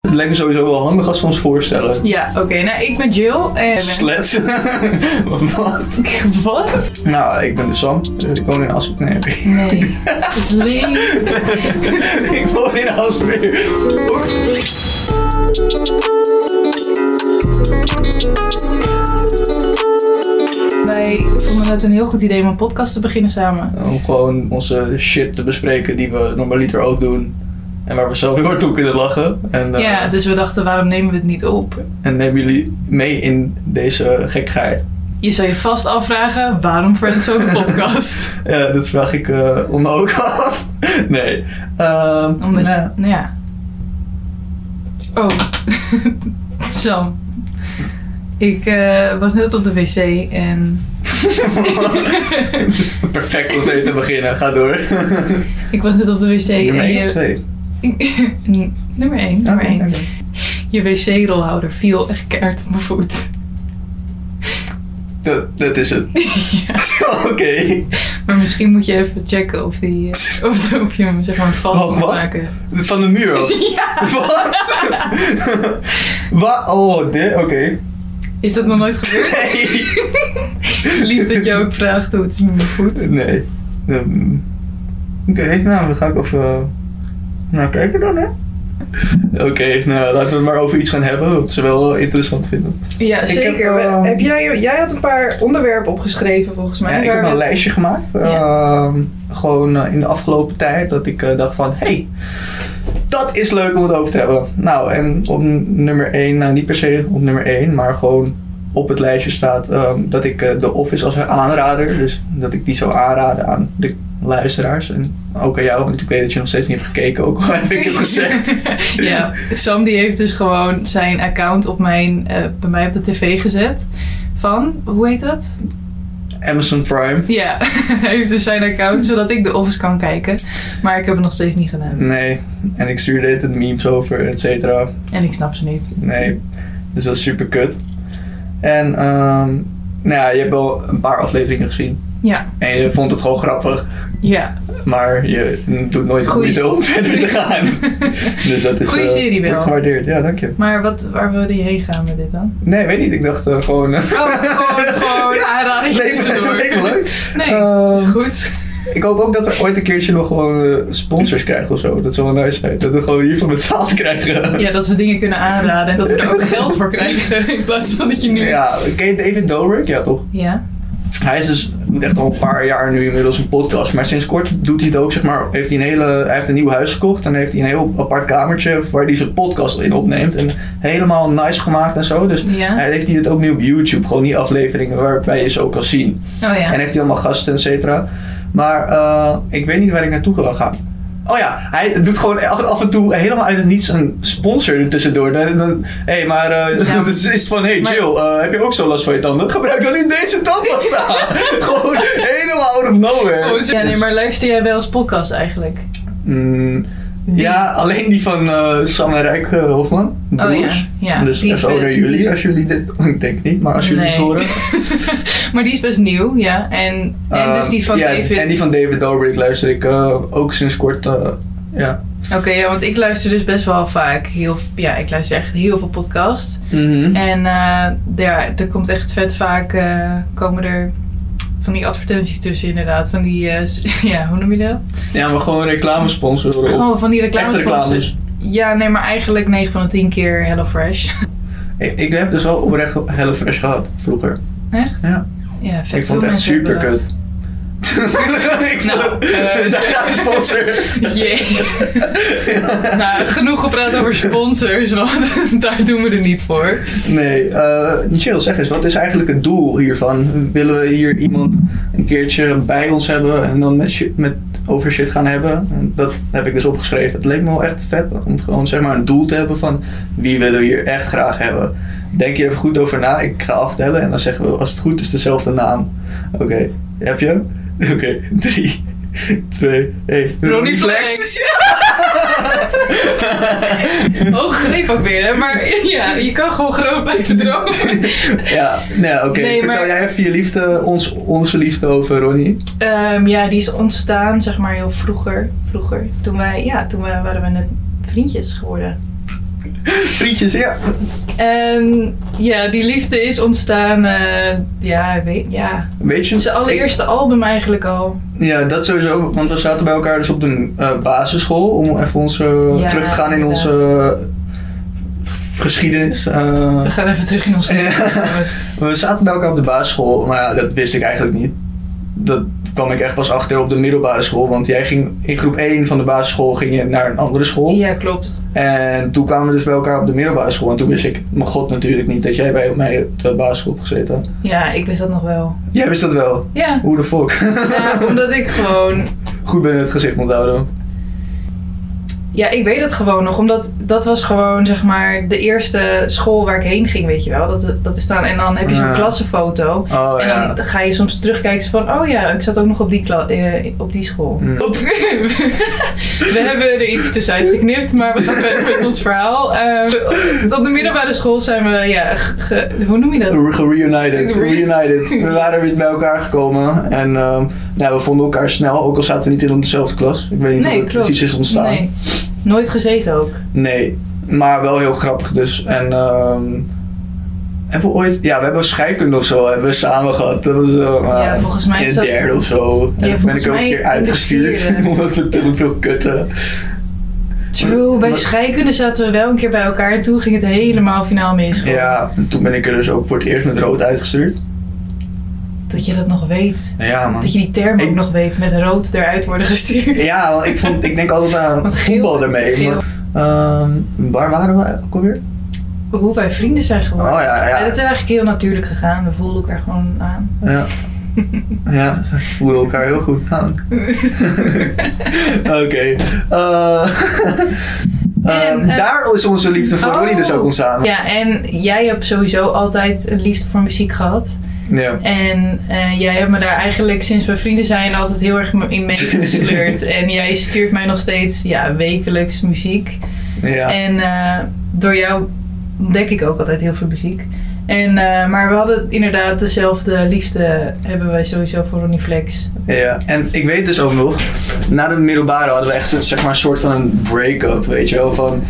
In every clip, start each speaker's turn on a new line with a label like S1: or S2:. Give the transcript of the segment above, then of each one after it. S1: Het lijkt me sowieso wel handig als we ons voorstellen.
S2: Ja, oké. Nou, ik ben Jill en...
S1: Slet. Wat?
S2: Wat?
S1: Nou, ik ben de Sam. Ik woon in Aspen. Nee,
S2: Nee. Het is leeg.
S1: ik woon in Aspen.
S2: Wij vonden het een heel goed idee om een podcast te beginnen samen.
S1: Om gewoon onze shit te bespreken die we normaliter ook doen. En waar we zelf heel hard toe kunnen lachen. En, eh,
S2: Ja, dus we dachten, waarom nemen we het niet op?
S1: en nemen jullie mee in deze gekkigheid.
S2: Je zou je vast afvragen, waarom Friends zo'n podcast?
S1: Ja, dat vraag ik eh, om me ook af. nee. Ehm,
S2: Omdat,
S1: nou,
S2: nou ja. Oh, Sam. Ik eh, was net op de wc en
S1: Perfect om mee te beginnen. Ga door.
S2: ik was net op de wc
S1: Nummer
S2: en
S1: 1 of Oh,
S2: je...
S1: 2?
S2: nummer 1, nummer 1. Je wc-rolhouder viel echt keihard op mijn voet.
S1: Dat, dat is het.
S2: ja.
S1: Oké.
S2: Maar misschien moet je even checken of, die, eh, of, of je hem zeg maar vast
S1: Oh,
S2: moet
S1: wat?
S2: maken.
S1: Van de muur af.
S2: Ja!
S1: Wat? Wat? Oh, dit? Oké.
S2: Is dat nog nooit gebeurd? Lief dat je ook vraagt hoe het is met mijn voet.
S1: Nee. Nee. Ehm, Oké, nou, dan ga ik even eh, naar kijken dan, hè. Oké, nou, laten we het maar over iets gaan hebben wat ze wel interessant vinden.
S2: Ja,
S3: Zeker.
S2: zeker.
S3: We-
S1: heb,
S3: Heb,
S1: ehm,
S3: jij, jij had een paar onderwerpen opgeschreven volgens mij.
S1: ja, ik
S3: waar
S1: heb
S3: we
S1: een
S3: het-
S1: lijstje gemaakt. ehm, gewoon eh, in de afgelopen tijd. Dat ik eh, dacht van, hé, hey, dat is leuk om het over te hebben. Nou, en op n- nummer 1, nou niet per se op nummer 1, maar gewoon op het lijstje staat ehm, dat ik eh, de Office als aanrader, dus dat ik die zou aanraden aan de luisteraars. En ook aan jou, want ik weet dat je nog steeds niet hebt gekeken, ook al heb ik het gezegd.
S2: ja, Sam die heeft dus gewoon zijn account op mijn, eh, bij mij op de tv gezet. Van, hoe heet dat?
S1: Amazon Prime.
S2: Ja, hij heeft dus zijn account zodat ik de Office kan kijken. Maar ik heb het nog steeds niet gedaan.
S1: Nee, en ik stuurde het memes over, et cetera.
S2: En ik snap ze niet.
S1: Nee. Dus dat is super kut. En ehm, nou ja, je hebt wel een paar afleveringen gezien.
S2: Ja,
S1: En je vond het gewoon grappig.
S2: ja.
S1: Maar je doet nooit de
S2: Goeie-
S1: moeite om verder te gaan. Dus dat is
S2: Goeie
S1: eh,
S2: serie wel.
S1: wordt gewaardeerd. Ja, dank je.
S2: Maar wat, waar wilde je heen gaan met dit dan?
S1: Nee, weet niet. Ik dacht eh, gewoon... eh,
S2: Oh, gewoon, gewoon
S1: Ja,
S2: aanraden.
S1: leek me- leek me leuk.
S2: Nee, is
S1: Ehm,
S2: goed.
S1: ik hoop ook dat we ooit een keertje nog gewoon eh, sponsors krijgen of zo. Dat zou wel nice zijn. Dat we gewoon hiervan betaald krijgen.
S2: Ja, dat we dingen kunnen aanraden en dat we er ook geld voor krijgen. In plaats van dat je nu...
S1: Ja, ken je David Dobrik? Ja, toch?
S2: Ja?
S1: Hij is dus echt al een paar jaar nu inmiddels een podcast. Maar sinds kort doet hij het ook, zeg maar. Heeft hij, een hele, hij heeft een nieuw huis gekocht. En heeft hij een heel apart kamertje waar hij zijn podcast in opneemt. En helemaal nice gemaakt en zo. Dus
S2: Ja.
S1: hij heeft hij het ook nu op YouTube. Gewoon die afleveringen waarbij je ze ook kan zien.
S2: Oh ja.
S1: En heeft hij allemaal gasten, et cetera. Maar eh, ik weet niet waar ik naartoe kan gaan. Oh ja, hij doet gewoon af af en toe helemaal uit het niets een sponsor er tussendoor. Dan- dan- Hé, hey, maar eh
S2: Ja.
S1: dat is is van, hey
S2: Maar-
S1: Jill, eh, heb je ook zo last van je tanden? Gebruik dan in deze tandpasta. gewoon helemaal out of nowhere.
S2: Oh, zo- ja, nee, maar luister jij wel eens podcast eigenlijk?
S1: Mm, ja, alleen die van eh, Sam en Rijk eh, Hofman.
S2: Oh ja,
S1: Broers.
S2: ja.
S1: Dus
S2: Die
S1: dat
S2: is
S1: is ook naar
S2: best.
S1: jullie, als jullie dit... Ik denk niet, maar als jullie
S2: Nee.
S1: het horen.
S2: Maar die is best nieuw, ja. En, en dus die van
S1: Eh, ja,
S2: David.
S1: En die van David Dobrik luister ik eh, ook sinds kort. eh, ja.
S2: Oké, ja, want ik luister dus best wel vaak heel... Ja, ik luister echt heel veel podcasts. En eh, ja, er komt echt vet vaak... eh, komen er van die advertenties tussen inderdaad. Van die... eh, s- ja, hoe noem je dat?
S1: Ja, maar gewoon reclamesponsoren.
S2: Gewoon van die
S1: Echte
S2: reclames.
S1: reclames.
S2: Ja, nee, maar eigenlijk 9 van de 10 keer HelloFresh.
S1: Ik, ik heb dus wel oprecht HelloFresh gehad, vroeger.
S2: Echt?
S1: Ja.
S2: Ja, vet
S1: ik vond
S2: veel
S1: het echt
S2: mensen hebben
S1: super
S2: dat.
S1: kut. ik
S2: Nou, eh,
S1: daar gaat de sponsor.
S2: Jee. nou, genoeg gepraat over sponsors, want daar doen we er niet voor.
S1: Nee, eh, chill, zeg eens, wat is eigenlijk het doel hiervan? Willen we hier iemand een keertje bij ons hebben en dan met, shi- met over shit gaan hebben? En dat heb ik dus opgeschreven. Het leek me wel echt vet om gewoon zeg maar een doel te hebben van wie willen we hier echt graag hebben. Denk hier even goed over na, ik ga aftellen en dan zeggen we als het goed is dezelfde naam. Oké, heb je hem? Oké, drie, twee, één.
S2: Ronnie Flex. Oh, greep ook weer, hè? Maar ja, je kan gewoon groot blijven dromen.
S1: Ja, nee, oké.
S2: Nee,
S1: Vertel
S2: maar-
S1: jij even je liefde, ons, onze liefde over Ronnie.
S2: Ehm, ja, die is ontstaan, zeg maar, heel vroeger. Vroeger. Toen wij, ja, toen wij, waren we net vriendjes geworden.
S1: frietjes, ja.
S2: En ja, die liefde is ontstaan, eh, ja, weet, ja.
S1: Weet je?
S2: Zijn allereerste album eigenlijk al.
S1: ik- ja, dat sowieso. Want we zaten bij elkaar dus op de eh, basisschool. Om even ons, eh,
S2: Ja,
S1: terug te gaan in
S2: inderdaad.
S1: onze eh, geschiedenis. eh.
S2: We gaan even terug in ons
S1: Ja.
S2: gezicht, jongens.
S1: We zaten bij elkaar op de basisschool, maar ja, dat wist ik eigenlijk niet. Dat kwam ik echt pas achter op de middelbare school, want jij ging in groep 1 van de basisschool ging je naar een andere school.
S2: Ja, klopt.
S1: En toen kwamen we dus bij elkaar op de middelbare school en toen wist ik, mijn god natuurlijk niet, dat jij bij mij op de basisschool hebt gezeten.
S2: Ja, ik wist dat nog wel.
S1: Jij wist dat wel.
S2: Ja,
S1: Hoe de fuck?
S2: nou, omdat ik gewoon
S1: Goed ben je het gezicht onthouden.
S2: Ja, ik weet het gewoon nog. Omdat dat was gewoon, zeg maar, de eerste school waar ik heen ging, weet je wel. Dat, dat is dan, en dan heb je zo'n
S1: Ja.
S2: klassenfoto.
S1: Oh
S2: en
S1: ja.
S2: dan ga je soms terugkijken zo van, oh ja, ik zat ook nog op die, kla- eh, op die school.
S1: Mm.
S2: we hebben er iets tussenuit geknipt, maar we gaan verder met ons verhaal. Eh, op de middelbare school zijn we, ja, ge- ge- hoe noem je dat?
S1: Re- Reunited,
S2: Re-
S1: reunited. We waren weer bij elkaar gekomen en ehm, nou, we vonden elkaar snel, ook al zaten we niet in dezelfde klas. Ik weet niet
S2: Nee,
S1: hoe dat
S2: klopt.
S1: precies is ontstaan.
S2: Nee, nooit gezeten ook.
S1: Nee, maar wel heel grappig dus. En ehm hebben we ooit... Ja, we hebben scheikunde of zo hebben we samen gehad. Dat was, eh,
S2: Ja,
S1: eh,
S2: volgens mij
S1: in
S2: is
S1: het
S2: dat-
S1: derde of zo. En
S2: Ja,
S1: toen ben
S2: volgens
S1: ik ook
S2: mij
S1: een
S2: in
S1: keer
S2: de
S1: uitgestuurd.
S2: vierde.
S1: omdat we te veel kutten.
S2: True, bij
S1: Maar-
S2: scheikunde zaten we wel een keer bij elkaar en toen ging het helemaal finaal mis. gewoon.
S1: Ja, en toen ben ik er dus ook voor het eerst met rood uitgestuurd.
S2: Dat je dat nog weet.
S1: Ja, man.
S2: Dat je die term ook
S1: Ik-
S2: nog weet met rood eruit worden gestuurd.
S1: Ja, want ik, vond, ik denk altijd aan
S2: Want geel-
S1: voetbal daarmee.
S2: geel.
S1: Maar, ehm, waar waren we ook alweer?
S2: Hoe wij vrienden zijn
S1: Oh
S2: geworden.
S1: ja,
S2: En
S1: ja.
S2: dat is eigenlijk heel natuurlijk gegaan. We voelden elkaar gewoon aan.
S1: Ja, ja we voelen elkaar heel goed aan. Oké. eh, eh,
S2: En, eh,
S1: daar is onze liefde voor
S2: oh.
S1: Tony dus ook ontstaan.
S2: ja, en jij hebt sowieso altijd een liefde voor muziek gehad.
S1: Ja.
S2: En eh, jij hebt me daar eigenlijk sinds we vrienden zijn altijd heel erg in meegesleurd. en jij stuurt mij nog steeds ja, wekelijks muziek.
S1: ja.
S2: En eh, door jou ontdek ik ook altijd heel veel muziek. En, eh, maar we hadden inderdaad dezelfde liefde, hebben wij sowieso voor Ronnie Flex.
S1: Ja, en ik weet dus ook nog, na de middelbare hadden we echt een, zeg maar, een soort van een break-up, weet je wel. Van,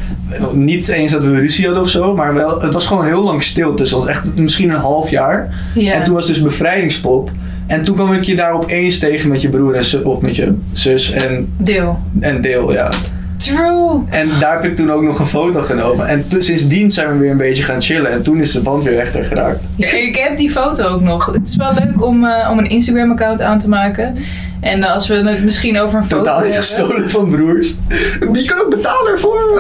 S1: niet eens dat we ruzie hadden of zo, maar wel, het was gewoon heel lang stil tussen ons. Echt misschien een half jaar.
S2: Ja.
S1: En toen was dus bevrijdingspop. En toen kwam ik je daar opeens tegen met je broer en zus, of met je zus en,
S2: Deel.
S1: en deel, ja.
S2: True!
S1: En daar heb ik toen ook nog een foto genomen. En toen- sindsdien zijn we weer een beetje gaan chillen. En toen is de band weer rechter geraakt.
S2: Ja, ik heb die foto ook nog. Het is wel leuk om, eh, om een Instagram-account aan te maken. En als we het misschien over een foto
S1: Totaal niet
S2: hebben-
S1: gestolen van broers. Je kan ook betalen ervoor.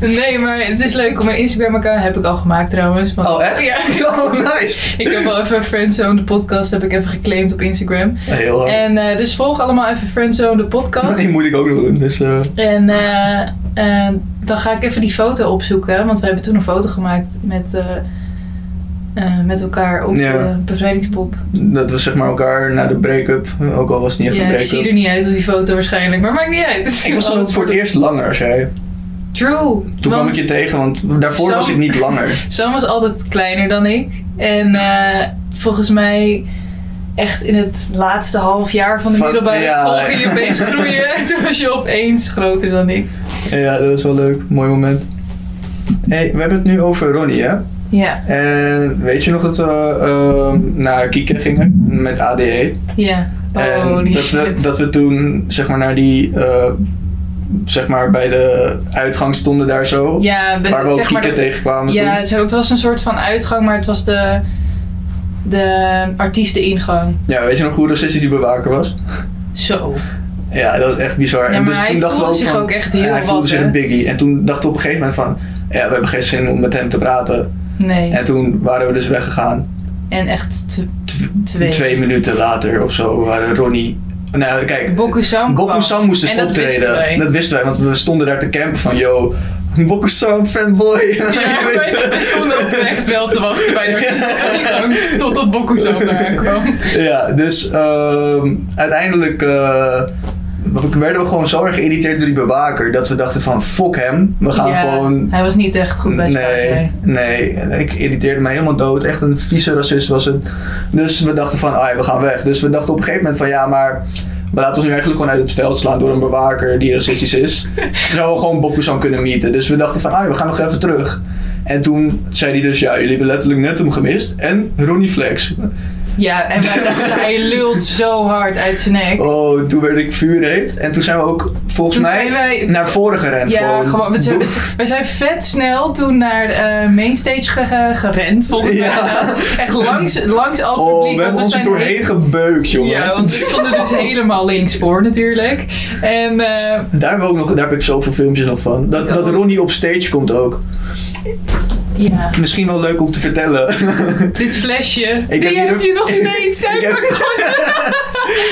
S2: nee, maar het is leuk om een Instagram-account... Heb ik al gemaakt trouwens. want-
S1: Oh, echt?
S2: Ja.
S1: Oh, nice.
S2: Ik heb al even Friendzone, de podcast, heb ik even geclaimd op Instagram.
S1: Heel hard.
S2: En eh, dus volg allemaal even Friendzone, de podcast.
S1: Oh. Die moet ik ook nog doen. Dus, eh,
S2: En eh, eh, dan ga ik even die foto opzoeken. Want we hebben toen een foto gemaakt met, eh, eh, met elkaar op
S1: Ja.
S2: eh, bevrijdingspop.
S1: dat we zeg maar elkaar na de break-up, eh, ook al was het niet echt
S2: Ja,
S1: een
S2: ik zie
S1: break-up.
S2: er niet uit op die foto waarschijnlijk, maar maakt niet uit.
S1: Ik was toen ook voor het eerst langer als jij.
S2: True.
S1: Toen kwam ik
S2: want
S1: je tegen, want daarvoor
S2: Zo-
S1: was ik niet langer.
S2: Sam was altijd kleiner dan ik. En eh, volgens mij echt in het laatste half jaar van de
S1: Van-
S2: middelbare
S1: ja.
S2: school ging je opeens groeien. En toen was je opeens groter dan ik.
S1: ja, dat was wel leuk. Mooi moment. hey, we hebben het nu over Ronnie, hè?
S2: Ja,
S1: En weet je nog dat we ehm, naar Kieken gingen met ADE?
S2: ja.
S1: en
S2: Oh, Holy
S1: dat we,
S2: shit.
S1: dat we toen zeg maar naar die, eh, zeg maar bij de uitgang stonden daar zo.
S2: ja, ben-
S1: waar we ook
S2: zeg maar
S1: Kieken
S2: de-
S1: tegenkwamen
S2: Ja,
S1: toen.
S2: zo, het was een soort van uitgang, maar het was de, de artiesteningang.
S1: Ja, weet je nog hoe racistisch die bewaker was?
S2: Zo.
S1: Ja, dat was echt bizar.
S2: Ja,
S1: en
S2: maar
S1: dus
S2: hij
S1: toen dachten we
S2: voelde
S1: ook
S2: zich
S1: van,
S2: ook echt heel
S1: ja, Hij
S2: wat,
S1: voelde zich
S2: hè?
S1: een biggie. En toen dachten we op een gegeven moment van, ja, we hebben geen zin om met hem te praten.
S2: Nee.
S1: En toen waren we dus weggegaan.
S2: En echt t-
S1: Tw-
S2: twee.
S1: Twee minuten later of zo waren Ronnie... Nou, kijk,
S2: Bokusam kwam.
S1: Bokusam moest dus
S2: En dat
S1: optreden.
S2: wisten wij.
S1: Dat wisten wij, want we stonden daar te campen van, yo, Bokusam, fanboy.
S2: Ja,
S1: Je
S2: we,
S1: weet
S2: we stonden ook echt wel te wachten bij de artiesteningang. Totdat Bokusam daar kwam.
S1: Ja, dus ehm, uiteindelijk eh, werden we gewoon zo erg geïrriteerd door die bewaker dat we dachten van fuck hem, we gaan
S2: Ja,
S1: gewoon...
S2: Hij was niet echt goed bij
S1: nee,
S2: nee.
S1: nee, ik irriteerde me helemaal dood. Echt een vieze racist was het. Dus we dachten van, ah, ja, we gaan weg. Dus we dachten op een gegeven moment van, ja, maar Maar laten we ons nu eigenlijk gewoon uit het veld slaan door een bewaker die racistisch is. Terwijl we gewoon Bokusan kunnen mieten. Dus we dachten van, ah, we gaan nog even terug. En toen zei hij dus, ja, jullie hebben letterlijk net hem gemist. En Ronnie Flex.
S2: Ja, en wij dachten, hij lult zo hard uit zijn nek.
S1: Oh, toen werd ik vuurheet. En toen zijn we ook, volgens
S2: Toen
S1: mij, Nou,
S2: zijn wij-
S1: naar voren gerend.
S2: Ja, gewoon. We zijn,
S1: Doe-
S2: we zijn vet snel toen naar de mainstage ge- gerend, volgens mij.
S1: Ja.
S2: Echt langs, langs al het
S1: Oh,
S2: publiek.
S1: we hebben ons er
S2: zijn
S1: doorheen gebeukt, jongen.
S2: Ja, want we stonden dus helemaal links voor natuurlijk. En eh,
S1: Daar, hebben we ook nog, daar heb ik zoveel filmpjes nog van. Dat,
S2: Ik
S1: dat
S2: ook.
S1: Ronnie op stage komt ook.
S2: ja,
S1: Misschien wel leuk om te vertellen.
S2: dit flesje,
S1: Ik
S2: die
S1: heb hier
S2: heb,
S1: ook-
S2: je nog steeds. Hij,
S1: Ik heb-
S2: pakt gewoon zo'n-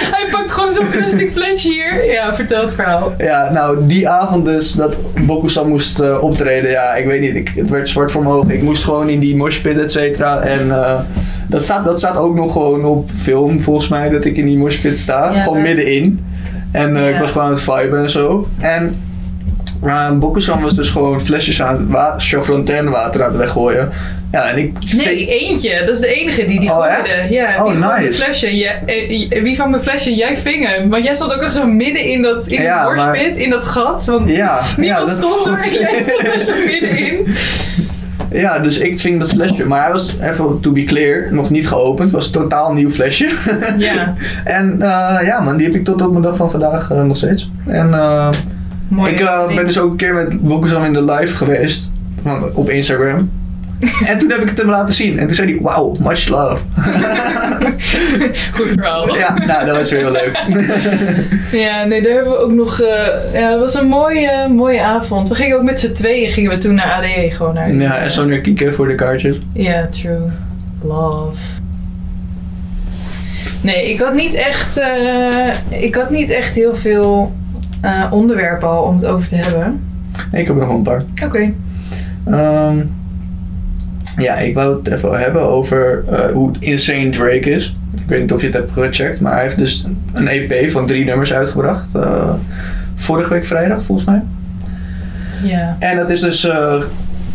S2: hij pakt gewoon zo'n plastic flesje hier. Ja, vertel het verhaal.
S1: ja, nou, die avond dus dat Bokusan moest eh, optreden. Ja, ik weet niet. Ik, het werd zwart voor mijn ogen. Ik moest gewoon in die moshpit, et cetera. En eh, dat, staat, dat staat ook nog gewoon op film, volgens mij. Dat ik in die moshpit sta.
S2: Ja,
S1: gewoon
S2: maar-
S1: middenin. En eh, ik
S2: Ja.
S1: was gewoon aan het viben en zo. En uh, Bokusan was dus gewoon flesjes aan het wa- chauffrontainwater aan het weggooien. Ja, en ik...
S2: Nee, eentje. Dat is de enige die die
S1: Oh,
S2: gooide. Ja,
S1: Oh,
S2: wie van mijn
S1: nice.
S2: flesje? Ja, eh, eh, wie van mijn flesje? Jij ving hem. Want jij stond ook echt zo midden in dat in
S1: Ja,
S2: de
S1: maar-
S2: worstpit, in dat gat. Want
S1: Ja, ja,
S2: niemand
S1: dat is
S2: stond er en
S1: goed.
S2: jij stond er zo middenin.
S1: Ja, dus ik ving dat flesje. Maar hij was, even to be clear, nog niet geopend. Het was een totaal nieuw flesje.
S2: Ja,
S1: en eh, ja man, die heb ik tot op mijn dag van vandaag eh, nog steeds. En eh,
S2: mooi.
S1: ik eh, ben dus ook een keer met Bokusam in de live geweest. Van, op Instagram. en toen heb ik het hem laten zien. En toen zei hij, wow, much love.
S2: Goed verhaal.
S1: ja, nou, dat was weer heel leuk.
S2: Ja, nee, daar hebben we ook nog... eh, ja, dat was een mooie, mooie avond. We gingen ook met z'n tweeën gingen we toen naar ADE gewoon naar...
S1: ja, en zo naar kieken voor de kaartjes.
S2: Ja, true. Love. Nee, ik had niet echt, eh, ik had niet echt heel veel eh, onderwerpen al om het over te hebben.
S1: Ik heb er nog wel een paar.
S2: Oké.
S1: Ehm, ja, ik wou het even hebben over eh, hoe insane Drake is. Ik weet niet of je het hebt gecheckt, maar hij heeft dus een EP van drie nummers uitgebracht. eh, vorige week vrijdag, volgens mij.
S2: Ja.
S1: En dat is dus eh,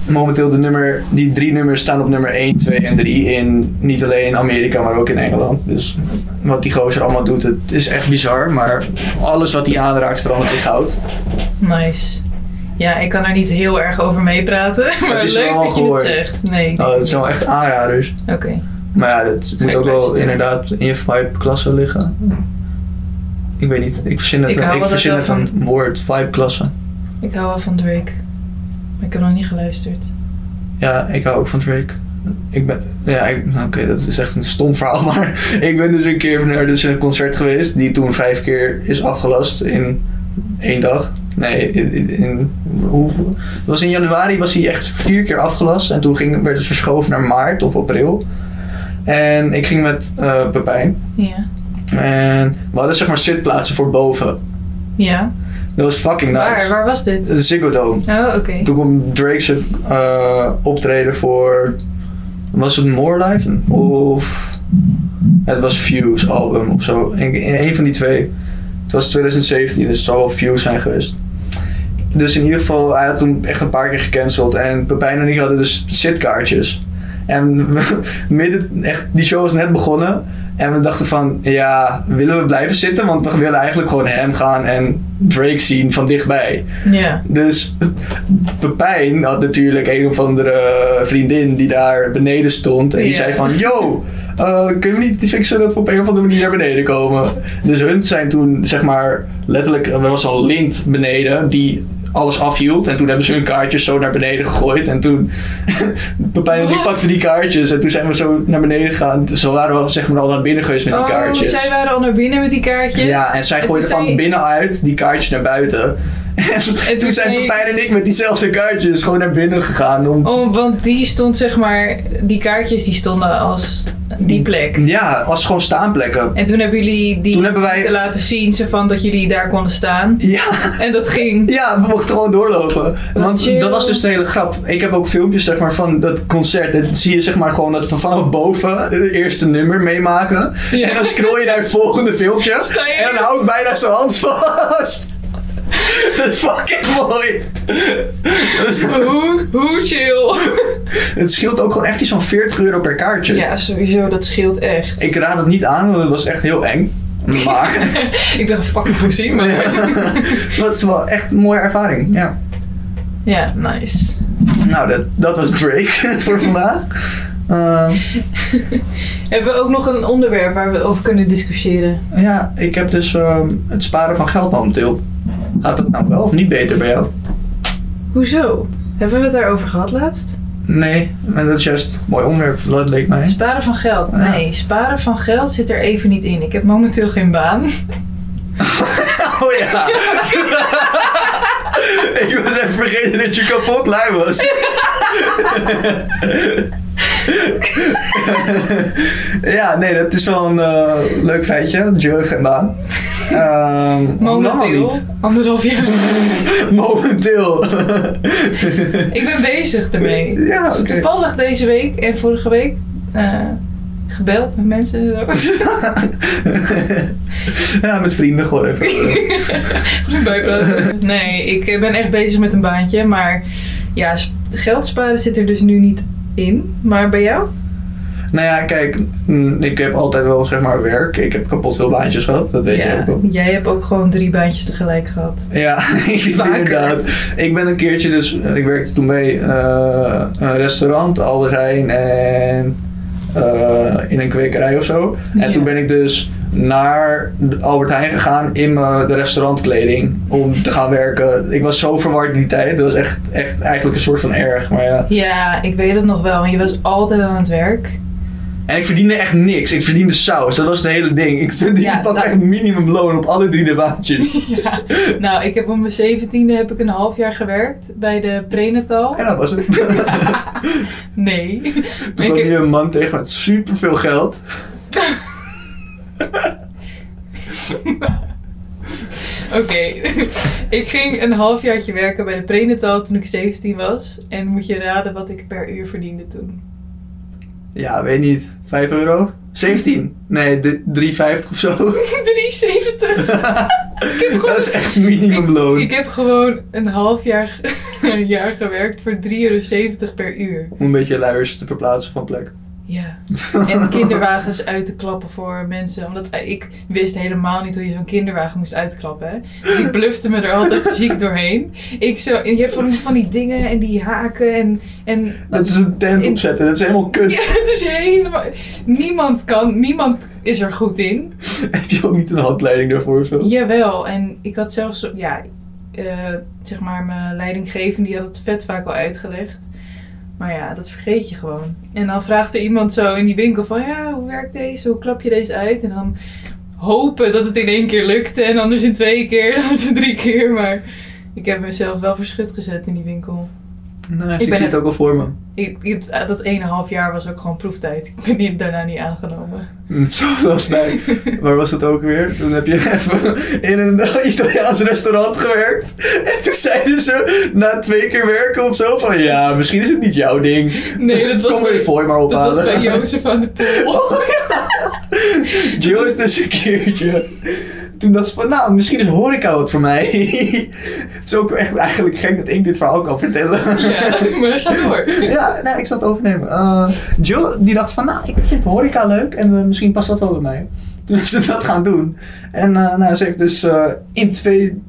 S1: momenteel de nummer, die drie nummers staan op nummer 1, 2 en 3 in niet alleen Amerika, maar ook in Engeland. Dus wat die gozer allemaal doet, het is echt bizar, maar alles wat hij aanraakt verandert in goud.
S2: Nice. Ja, ik kan er niet heel erg over meepraten, maar
S1: je ze
S2: leuk
S1: al
S2: dat je het
S1: gehoord?
S2: zegt. Nee. ik
S1: Nou,
S2: denk
S1: dat zijn
S2: niet.
S1: wel echt aanraders.
S2: Oké.
S1: Maar ja, dat moet
S2: ik
S1: ook wel
S2: luisteren.
S1: inderdaad in je vibe klasse liggen. Ik weet niet, ik verzin het,
S2: Ik
S1: een,
S2: hou
S1: ik
S2: wel dat
S1: verzin
S2: wel
S1: het een woord, vibe klasse.
S2: Ik hou wel van Drake. Maar ik heb nog niet geluisterd.
S1: Ja, ik hou ook van Drake. Ik ben, ja, ik- nou, oké, dat is echt een stom verhaal, maar ik ben dus een keer naar dus een concert geweest die toen vijf keer is afgelast in één dag. Nee, in, in- in- hoeveel? Het was in januari was hij echt vier keer afgelast en toen ging, werd het verschoven naar maart of april. En ik ging met eh Pepijn.
S2: Ja.
S1: En we hadden zeg maar zitplaatsen voor boven.
S2: Ja.
S1: Dat was fucking nice.
S2: Waar, waar was dit?
S1: Ziggo Dome.
S2: Oh, oké.
S1: Toen kwam Drake zijn eh, optreden voor... Was het More Life? Of... Het was Fuse album of zo. Ik- Een van die twee. Het was 2017, dus het zou wel Fuse zijn geweest. Dus in ieder geval, hij had toen echt een paar keer gecanceld. En Pepijn en ik hadden dus zitkaartjes. En we- midden, echt, die show was net begonnen. En we dachten van, ja, willen we blijven zitten? Want we willen eigenlijk gewoon hem gaan en Drake zien van dichtbij.
S2: Ja.
S1: Dus Pepijn had natuurlijk een of andere vriendin die daar beneden stond. En die
S2: Ja.
S1: zei van, yo, eh, kunnen we niet fixen dat we op een of andere manier naar beneden komen? Dus hun zijn toen, zeg maar, letterlijk, er was al lint beneden die alles afhield. En toen hebben ze hun kaartjes zo naar beneden gegooid. En toen, Pepijn en ik
S2: Wat?
S1: pakten die kaartjes. En toen zijn we zo naar beneden gegaan. Dus we waren wel, zeg maar, al naar binnen geweest met die
S2: Oh,
S1: kaartjes.
S2: zij waren al naar binnen met die kaartjes.
S1: Ja, en zij
S2: En
S1: gooide
S2: toen
S1: van
S2: zei-
S1: binnenuit die kaartjes naar buiten. En, toen,
S2: toen
S1: zijn
S2: zei-
S1: Pepijn en ik met diezelfde kaartjes gewoon naar binnen gegaan. Om,
S2: Oh, want die stond zeg maar, die kaartjes die stonden als die plek.
S1: Ja, als gewoon staanplekken.
S2: En toen hebben jullie die
S1: Toen hebben wij-
S2: te laten zien, ze van dat jullie daar konden staan.
S1: Ja,
S2: En dat ging.
S1: ja, we mochten gewoon doorlopen. Want
S2: chill.
S1: dat was dus de hele grap. Ik heb ook filmpjes zeg maar, van dat concert. Dan zie je zeg maar, gewoon dat we vanaf boven het eerste nummer meemaken.
S2: Ja.
S1: En dan scroll je naar het volgende filmpje.
S2: Sta je-
S1: En dan hou ik bijna zijn hand vast. Dat is fucking mooi.
S2: Hoe, hoe chill.
S1: Het scheelt ook gewoon echt iets van 40 euro per kaartje.
S3: Ja, sowieso, dat scheelt echt.
S1: Ik raad het niet aan, want het was echt heel eng. Maar
S2: ik ben een fucking poesie, maar...
S1: Ja. dat is wel echt een mooie ervaring. Ja.
S2: ja, nice.
S1: Nou, dat, dat was Drake voor vandaag. Ehm,
S2: Hebben we ook nog een onderwerp waar we over kunnen discussiëren?
S1: ja, ik heb dus ehm, het sparen van geld momenteel. Gaat dat nou wel of niet beter bij jou?
S2: Hoezo? Hebben we het daarover gehad laatst?
S1: Nee, maar dat is juist een mooi onderwerp, dat leek mij.
S2: Sparen van geld?
S1: Ja.
S2: Nee, sparen van geld zit er even niet in. Ik heb momenteel geen baan.
S1: Oh ja. ik was even vergeten dat je kapot lui was. ja, nee, dat is wel een eh, leuk feitje. Joe heeft geen baan. Ehm,
S2: Momenteel.
S1: allemaal
S2: Anderhalf jaar.
S1: niet. Momenteel.
S2: ik ben bezig ermee.
S1: Ja, oké.
S2: Toevallig deze week en vorige week eh, gebeld met mensen. en zo.
S1: ja, met vrienden gewoon even.
S2: Goed bijpraten. Nee, ik ben echt bezig met een baantje. Maar ja, sp- geld sparen zit er dus nu niet in. Maar bij jou?
S1: nou ja, kijk, mm, ik heb altijd wel zeg maar werk. Ik heb kapot veel baantjes gehad, dat weet je
S2: ja,
S1: ook wel.
S2: jij hebt ook gewoon drie baantjes tegelijk gehad.
S1: Ja,
S2: Vaker.
S1: inderdaad. Ik ben een keertje dus, eh, ik werkte toen bij eh, een restaurant, Albert Heijn en eh, in een kwekerij of zo. En
S2: Ja.
S1: toen ben ik dus naar de Albert Heijn gegaan in mijn de restaurantkleding om te gaan werken. Ik was zo verward die tijd. Dat was echt, echt eigenlijk een soort van erg, maar ja.
S2: Ja, ik weet het nog wel, want je was altijd aan het werk.
S1: En ik verdiende echt niks. Ik verdiende saus. Dat was het hele ding. Ik verdiende
S2: Ja,
S1: pak
S2: dat-
S1: echt minimumloon op alle drie de baantjes.
S2: Ja. Nou, ik heb op mijn zeventiende heb ik een half jaar gewerkt bij de prenatal.
S1: En dat was het. Toen
S2: Nee.
S1: kwam
S2: heb-
S1: hier een man tegen met superveel geld.
S2: Oké, ik ging een halfjaartje werken bij de prenatal toen ik 17 was. En moet je raden wat ik per uur verdiende toen?
S1: Ja, weet niet. 5 euro? 17? Nee, de- 3,50 of zo.
S2: 3,70. heb gewoon-
S1: dat is echt minimumloon.
S2: Ik heb gewoon een half jaar, ge- een jaar gewerkt voor 3,70 euro per uur.
S1: Om een beetje luiers te verplaatsen van plek.
S2: Ja. En kinderwagens uit te klappen voor mensen. Omdat eh, ik wist helemaal niet hoe je zo'n kinderwagen moest uitklappen. Hè. Dus ik blufte me er altijd ziek doorheen. Ik zo, en je hebt van, van die dingen en die haken en... en
S1: Dat is een tent
S2: Ik-
S1: opzetten, dat is helemaal
S2: Ja,
S1: kut.
S2: het is helemaal... Niemand kan, niemand is er goed in.
S1: Heb je ook niet een handleiding daarvoor of zo?
S2: Jawel, en ik had zelfs, zo- ja, eh, zeg maar mijn leidinggevende, die had het vet vaak al uitgelegd. Maar ja, dat vergeet je gewoon. En dan vraagt er iemand zo in die winkel van, ja, hoe werkt deze? Hoe klap je deze uit? En dan hopen dat het in één keer lukte en anders in twee keer, dan in drie keer. Maar ik heb mezelf wel verschut gezet in die winkel.
S1: Nee, ik,
S2: ben
S1: zie
S2: het-
S1: het ook al voor me.
S2: Ik, ik- dat ene half jaar was ook gewoon proeftijd. Ik ben niet- daarna niet aangenomen.
S1: Hetzelfde als bij. Waar was dat ook weer? Toen heb je even in een Italiaans restaurant gewerkt. En toen zeiden ze na twee keer werken of zo van ja, misschien is het niet jouw ding.
S2: Nee, dat was
S1: Kom maar
S2: bij-
S1: je fooi maar
S2: Dat
S1: ophalen.
S2: was bij Jozef aan de Poel.
S1: Oh, ja. Jill is dus een keertje. Toen dacht ze van, nou, misschien is horeca wat voor mij. Het is ook echt eigenlijk gek dat ik dit verhaal kan vertellen.
S2: Ja, maar ga door.
S1: Ja, nou, ik zal het overnemen. Eh Jill, die dacht van, nou, ik vind horeca leuk en eh, misschien past dat wel bij mij. Toen is ze dat gaan doen. En eh, nou, ze heeft dus eh, in twee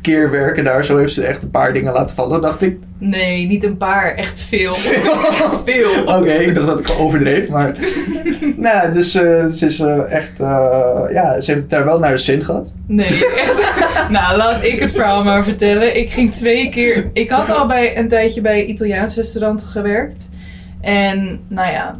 S1: keer werken daar, zo heeft ze echt een paar dingen laten vallen. dacht ik,
S2: Nee, niet een paar, echt veel.
S1: Veel. Oh.
S2: Echt veel.
S1: Oké, ik dacht dat ik overdreef, maar... nou ja, dus eh, ze is eh, echt... eh, ja, ze heeft het daar wel naar de zin gehad.
S2: Nee, echt. Nou, laat ik het verhaal maar vertellen. Ik ging twee keer. Ik had al bij een tijdje bij een Italiaans restaurant gewerkt. En nou ja,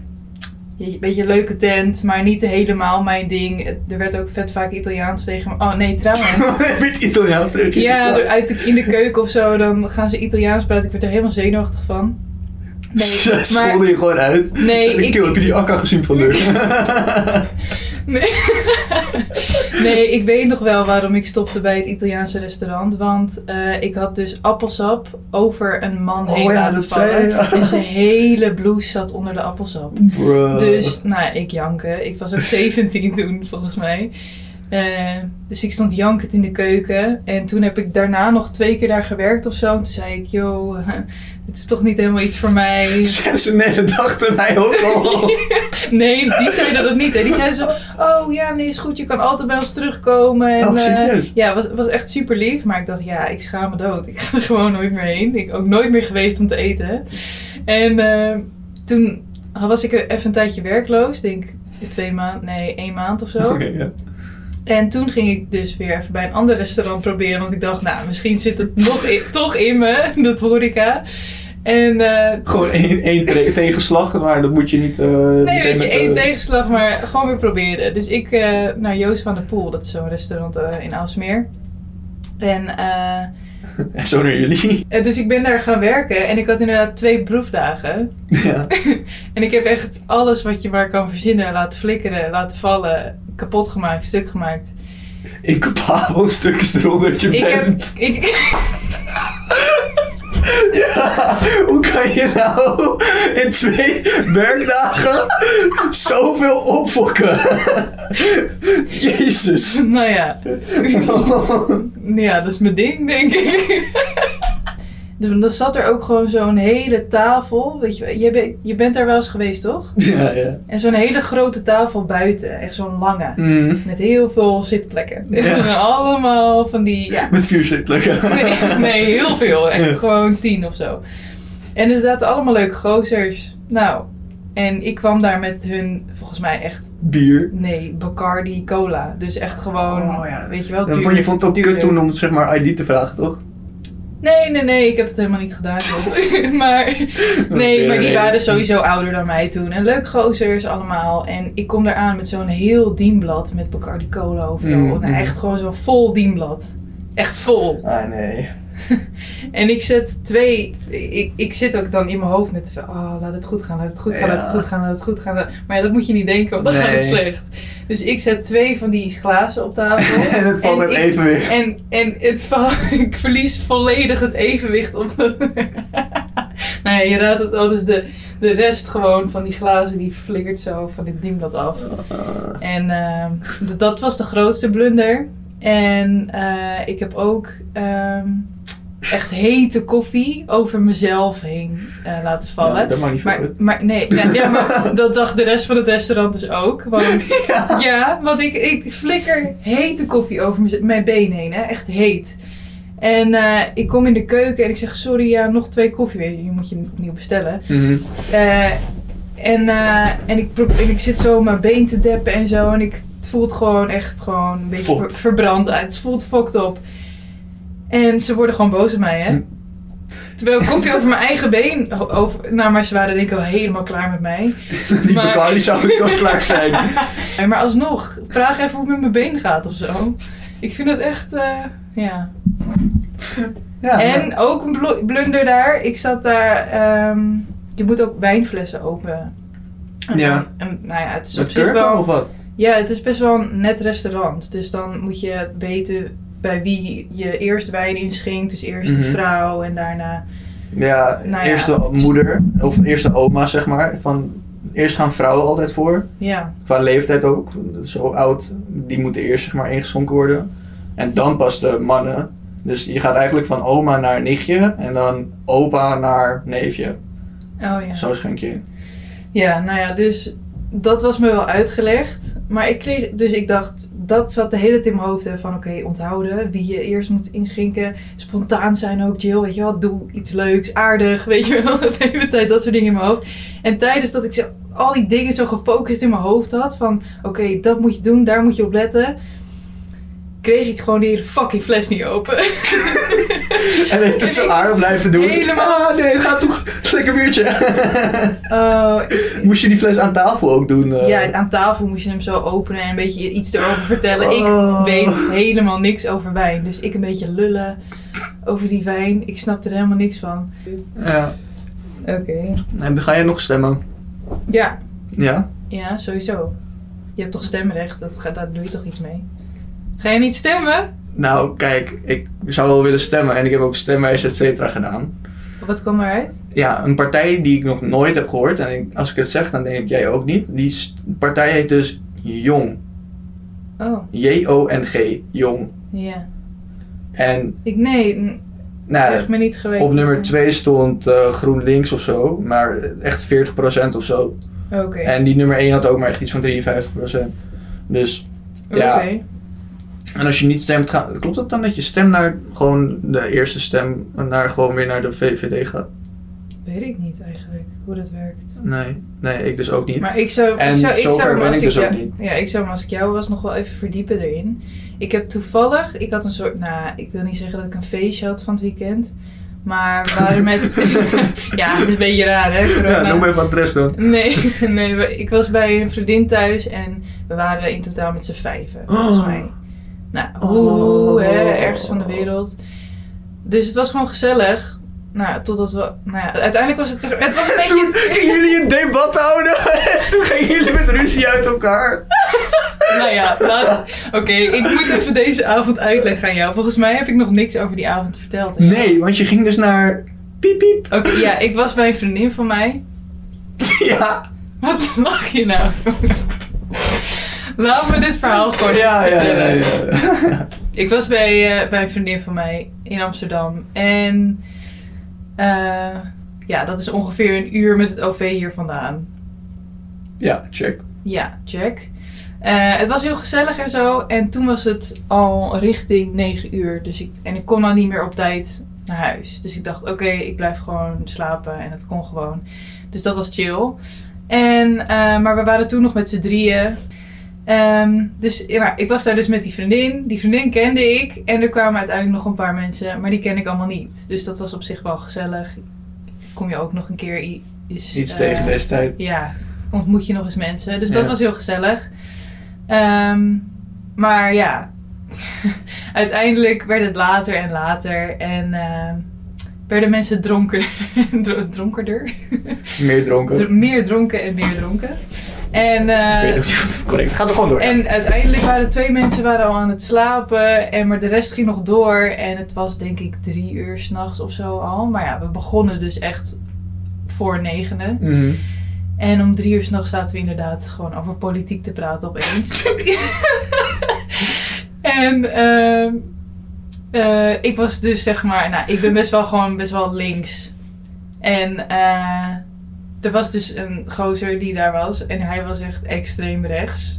S2: een beetje leuke tent, maar niet helemaal mijn ding. Er werd ook vet vaak Italiaans tegen me. Oh nee, trouwens.
S1: Heb je het Italiaans? Heb je
S2: Ja,
S1: het
S2: er-
S1: Italiaans?
S2: uit de, in de keuken of zo, dan gaan ze Italiaans praten. Ik werd er helemaal zenuwachtig van.
S1: Ze
S2: Nee, maar-
S1: scholden je gewoon uit.
S2: Nee,
S1: Ze-
S2: ik-
S1: Kill, heb je die akka gezien van deur?
S2: Nee. nee, ik weet nog wel waarom ik stopte bij het Italiaanse restaurant. Want eh, ik had dus appelsap over een man
S1: Oh
S2: heen
S1: ja,
S2: laten
S1: dat
S2: vallen.
S1: zei je, ja.
S2: En zijn hele blouse zat onder de appelsap.
S1: Bruh.
S2: Dus, nou ja, ik janken. Ik was ook 17 toen, volgens mij. Eh, dus ik stond jankend in de keuken. En toen heb ik daarna nog twee keer daar gewerkt of zo. En toen zei ik, yo, het is toch niet helemaal iets voor mij.
S1: Zijn ze net, dat dachten wij ook al.
S2: Nee, die zei dat het niet. Hè. Die zei zo, oh ja, nee, is goed. Je kan altijd bij ons terugkomen. En,
S1: Oh,
S2: eh,
S1: serieus?
S2: ja, was, was echt super lief. Maar ik dacht, ja, ik schaam me dood. Ik ga er gewoon nooit meer heen. Ik ben ook nooit meer geweest om te eten. En eh, toen was ik even een tijdje werkloos. Denk twee maanden, nee, één maand of eh, zo.
S1: Oké, ja.
S2: En toen ging ik dus weer even bij een ander restaurant proberen. Want ik dacht, nou, misschien zit het nog in- toch in me, dat horeca. En eh,
S1: Gewoon één, één tre- tegenslag, maar dat moet je niet... eh,
S2: Nee,
S1: meteen
S2: weet je,
S1: met, eh,
S2: één tegenslag, maar gewoon weer proberen. Dus ik eh, naar Joost van de Poel, dat is zo'n restaurant eh, in Aalsmeer. En eh,
S1: En zo naar jullie.
S2: eh, dus ik ben daar gaan werken en ik had inderdaad twee proefdagen.
S1: ja.
S2: En ik heb echt alles wat je maar kan verzinnen laten flikkeren, laten vallen, kapot gemaakt, stuk gemaakt.
S1: Incapabel stukjes eronder dat je
S2: Ik
S1: bent.
S2: heb, ik,
S1: Ja, hoe kan je nou in twee werkdagen zoveel opfokken? Jezus.
S2: nou ja, ja, dat is mijn ding, denk ik. Dus Dan zat er ook gewoon zo'n hele tafel. Weet je, wel. je, bent- je bent daar wel eens geweest, toch?
S1: Ja, ja.
S2: En zo'n hele grote tafel buiten, echt zo'n lange,
S1: Mm.
S2: met heel veel zitplekken.
S1: Ja.
S2: Allemaal van die, ja,
S1: Met vier zitplekken.
S2: nee, nee, heel veel, echt
S1: Ja.
S2: gewoon tien of zo. En er zaten allemaal leuke gozers. Nou, en ik kwam daar met hun, volgens mij echt,
S1: Bier.
S2: nee, Bacardi cola. Dus echt gewoon,
S1: Oh, ja.
S2: weet je wel,
S1: Dan
S2: duur-
S1: vond je vond het ook
S2: duurder.
S1: kut toen om zeg maar ID te vragen, toch?
S2: Nee, nee, nee, ik heb het helemaal niet gedaan. joh. maar nee, maar die waren sowieso ouder dan mij toen. En leuk gozers allemaal. En ik kom eraan met zo'n heel dienblad met Bacardi Cola overal.
S1: Mm,
S2: Nou,
S1: mm.
S2: echt gewoon zo'n vol dienblad. Echt vol.
S1: Ah, nee.
S2: En ik zet twee... Ik, ik zit ook dan in mijn hoofd met... van, Oh, laat het goed gaan, laat het goed gaan, laat het
S1: Ja.
S2: goed gaan, laat het goed gaan. Maar ja, dat moet je niet denken, want dan gaat het
S1: Nee.
S2: slecht. Dus ik zet twee van die glazen op tafel.
S1: en het valt
S2: En
S1: hem
S2: ik-
S1: even weer.
S2: En, en het va- ik verlies volledig het evenwicht op de... nou ja, je raadt het al, dus de, de rest gewoon van die glazen die flikkert zo van dit dienblad af. En ehm, d- dat was de grootste blunder. En eh, ik heb ook ehm, echt hete koffie over mezelf heen eh, laten vallen.
S1: Ja, dat mag niet
S2: Maar,
S1: voor.
S2: maar nee, ja, ja, maar dat dacht de rest van het restaurant dus ook. Want ja, want ik, ik flikker hete koffie over mez- mijn been heen, hè. echt heet. En eh, ik kom in de keuken en ik zeg, sorry, ja, nog twee koffie, weet je, je moet je opnieuw bestellen.
S1: Mhm.
S2: Eh, en, eh, en, ik, pro- en ik zit zo mijn been te deppen en zo en ik, het voelt gewoon echt gewoon een beetje ver-
S1: Fokt.
S2: verbrand uit. Het voelt fokt op. En ze worden gewoon boos op mij, hè.
S1: Hm.
S2: Terwijl koffie over mijn eigen been, o- over, nou maar ze waren denk ik al helemaal klaar met mij.
S1: Die
S2: maar-
S1: Bacardi zou ook wel klaar zijn.
S2: Nee, maar alsnog, vraag even hoe het met mijn been gaat of zo. Ik vind het echt, eh, ja.
S1: Ja,
S2: En ook een blo- blunder daar. Ik zat daar, ehm, je moet ook wijnflessen open. En-
S1: Ja.
S2: en, nou ja, het is op
S1: Met
S2: zich
S1: kurken
S2: wel...
S1: of wat?
S2: Ja, het is best wel een net restaurant. Dus dan moet je weten bij wie je eerst wijn inschenkt. Dus eerst de
S1: Mhm.
S2: vrouw en daarna...
S1: Ja,
S2: Nou ja.
S1: eerst de moeder, of eerst de oma, zeg maar. Van, eerst gaan vrouwen altijd voor,
S2: Ja,
S1: qua leeftijd ook. Zo oud, die moeten eerst zeg maar ingeschonken worden. En dan pas de mannen. Dus je gaat eigenlijk van oma naar nichtje en dan opa naar neefje.
S2: oh ja.
S1: Zo schenk je in.
S2: Ja, nou ja, dus dat was me wel uitgelegd. Maar ik kreeg, dus ik dacht, dat zat de hele tijd in mijn hoofd hè, van oké, onthouden wie je eerst moet inschinken. Spontaan zijn ook, Jill, weet je wel, doe iets leuks, aardig, weet je wel. De hele tijd dat soort dingen in mijn hoofd. En tijdens dat ik zo, al die dingen zo gefocust in mijn hoofd had van oké, dat moet je doen, daar moet je op letten. Kreeg ik gewoon die hele fucking fles niet open.
S1: En heeft het zo
S2: Ik-
S1: aardig blijven doen.
S2: Helemaal.
S1: Ah, nee, ga toch. Lekker biertje.
S2: Oh,
S1: Moest je die fles aan tafel ook doen? eh?
S2: Ja, aan tafel moest je hem zo openen en een beetje iets erover vertellen.
S1: Oh.
S2: Ik weet helemaal niks over wijn. Dus ik een beetje lullen over die wijn. Ik snapte er helemaal niks van.
S1: ja.
S2: Oké.
S1: En ga jij nog stemmen?
S2: Ja.
S1: Ja?
S2: ja, sowieso. Je hebt toch stemrecht? Dat, ga- daar doe je toch iets mee? Ga je niet stemmen?
S1: Nou, kijk, ik zou wel willen stemmen en ik heb ook stemwijs, et cetera, gedaan.
S2: Wat kwam eruit?
S1: ja, een partij die ik nog nooit heb gehoord. En ik- als ik het zeg, dan denk ik jij ook niet. Die s- partij heet dus Jong.
S2: Oh,
S1: J-O-N-G, jong.
S2: ja.
S1: En
S2: Ik, nee, n-
S1: nou,
S2: zeg me niet geweten.
S1: op nummer 2 stond eh, GroenLinks of zo, maar echt 40% of zo.
S2: Oké.
S1: En die nummer 1 had ook maar echt iets van 53%. Dus ja.
S2: Oké.
S1: En als je niet stemt, ga- klopt dat dan dat je stem naar gewoon de eerste stem, naar gewoon weer naar de VVD gaat?
S2: Weet ik niet eigenlijk hoe dat werkt.
S1: Nee, nee, ik dus ook niet.
S2: Maar ik zou,
S1: En
S2: ik zou, ik
S1: zover
S2: zou hem
S1: ben
S2: als
S1: ik dus
S2: jou-
S1: ook niet.
S2: Ja, ik zou hem als ik jou was nog wel even verdiepen erin. Ik heb toevallig, ik had een soort, nou, ik wil niet zeggen dat ik een feestje had van het weekend. Maar we waren met, ja, dat is een beetje raar hè, corona.
S1: ja, noem even adres dan.
S2: Nee, nee, we- ik was bij een vriendin thuis en we waren in totaal met z'n vijven, volgens
S1: Oh.
S2: mij. Nou,
S1: Oh.
S2: oeh, hè, ergens van de wereld. Dus het was gewoon gezellig. Nou, totdat we, nou ja, uiteindelijk was het, het was een
S1: Toen
S2: beetje...
S1: gingen jullie een debat houden. Toen gingen jullie met ruzie uit elkaar.
S2: Nou ja, laat- oké, ik moet even deze avond uitleggen aan jou. Volgens mij heb ik nog niks over die avond verteld. hè?
S1: Nee, want je ging dus naar piep piep.
S2: Oké, ja, ik was bij een vriendin van mij.
S1: Ja,
S2: Wat lach je nou? Laat me dit verhaal gewoon even
S1: ja, ja, ja.
S2: vertellen.
S1: ja.
S2: Ik was bij, eh, bij een vriendin van mij in Amsterdam. En eh, ja, dat is ongeveer een uur met het OV hier vandaan.
S1: Ja, check.
S2: Ja, check. Eh, het was heel gezellig en zo. En toen was het al richting 9 uur. Dus ik, en ik kon al niet meer op tijd naar huis. Dus ik dacht, oké, ik blijf gewoon slapen. En dat kon gewoon. Dus dat was chill. En, eh, maar we waren toen nog met z'n drieën. Ehm, dus ja, maar ik was daar dus met die vriendin. Die vriendin kende ik. En er kwamen uiteindelijk nog een paar mensen. Maar die ken ik allemaal niet. Dus dat was op zich wel gezellig. Kom je ook nog een keer i- is,
S1: Iets
S2: eh,
S1: tegen deze tijd.
S2: ja, ontmoet je nog eens mensen. Dus dat
S1: Ja.
S2: was heel gezellig. Ehm, maar ja, uiteindelijk werd het later en later. En ehm, werden mensen dronker, dro- dronkerder.
S1: Meer dronken.
S2: Dr- meer dronken en meer dronken. En, eh,
S1: Ik weet niet of het correct. Ga er gewoon door.
S2: en uiteindelijk waren twee mensen waren al aan het slapen. En, maar de rest ging nog door. En het was denk ik drie uur s'nachts of zo al. Maar ja, we begonnen dus echt voor negenen.
S1: Mhm.
S2: En om drie uur s'nachts zaten we inderdaad gewoon over politiek te praten opeens. en ehm, eh, ik was dus zeg maar, nou, ik ben best wel gewoon best wel links. En eh, er was dus een gozer die daar was en hij was echt extreem rechts.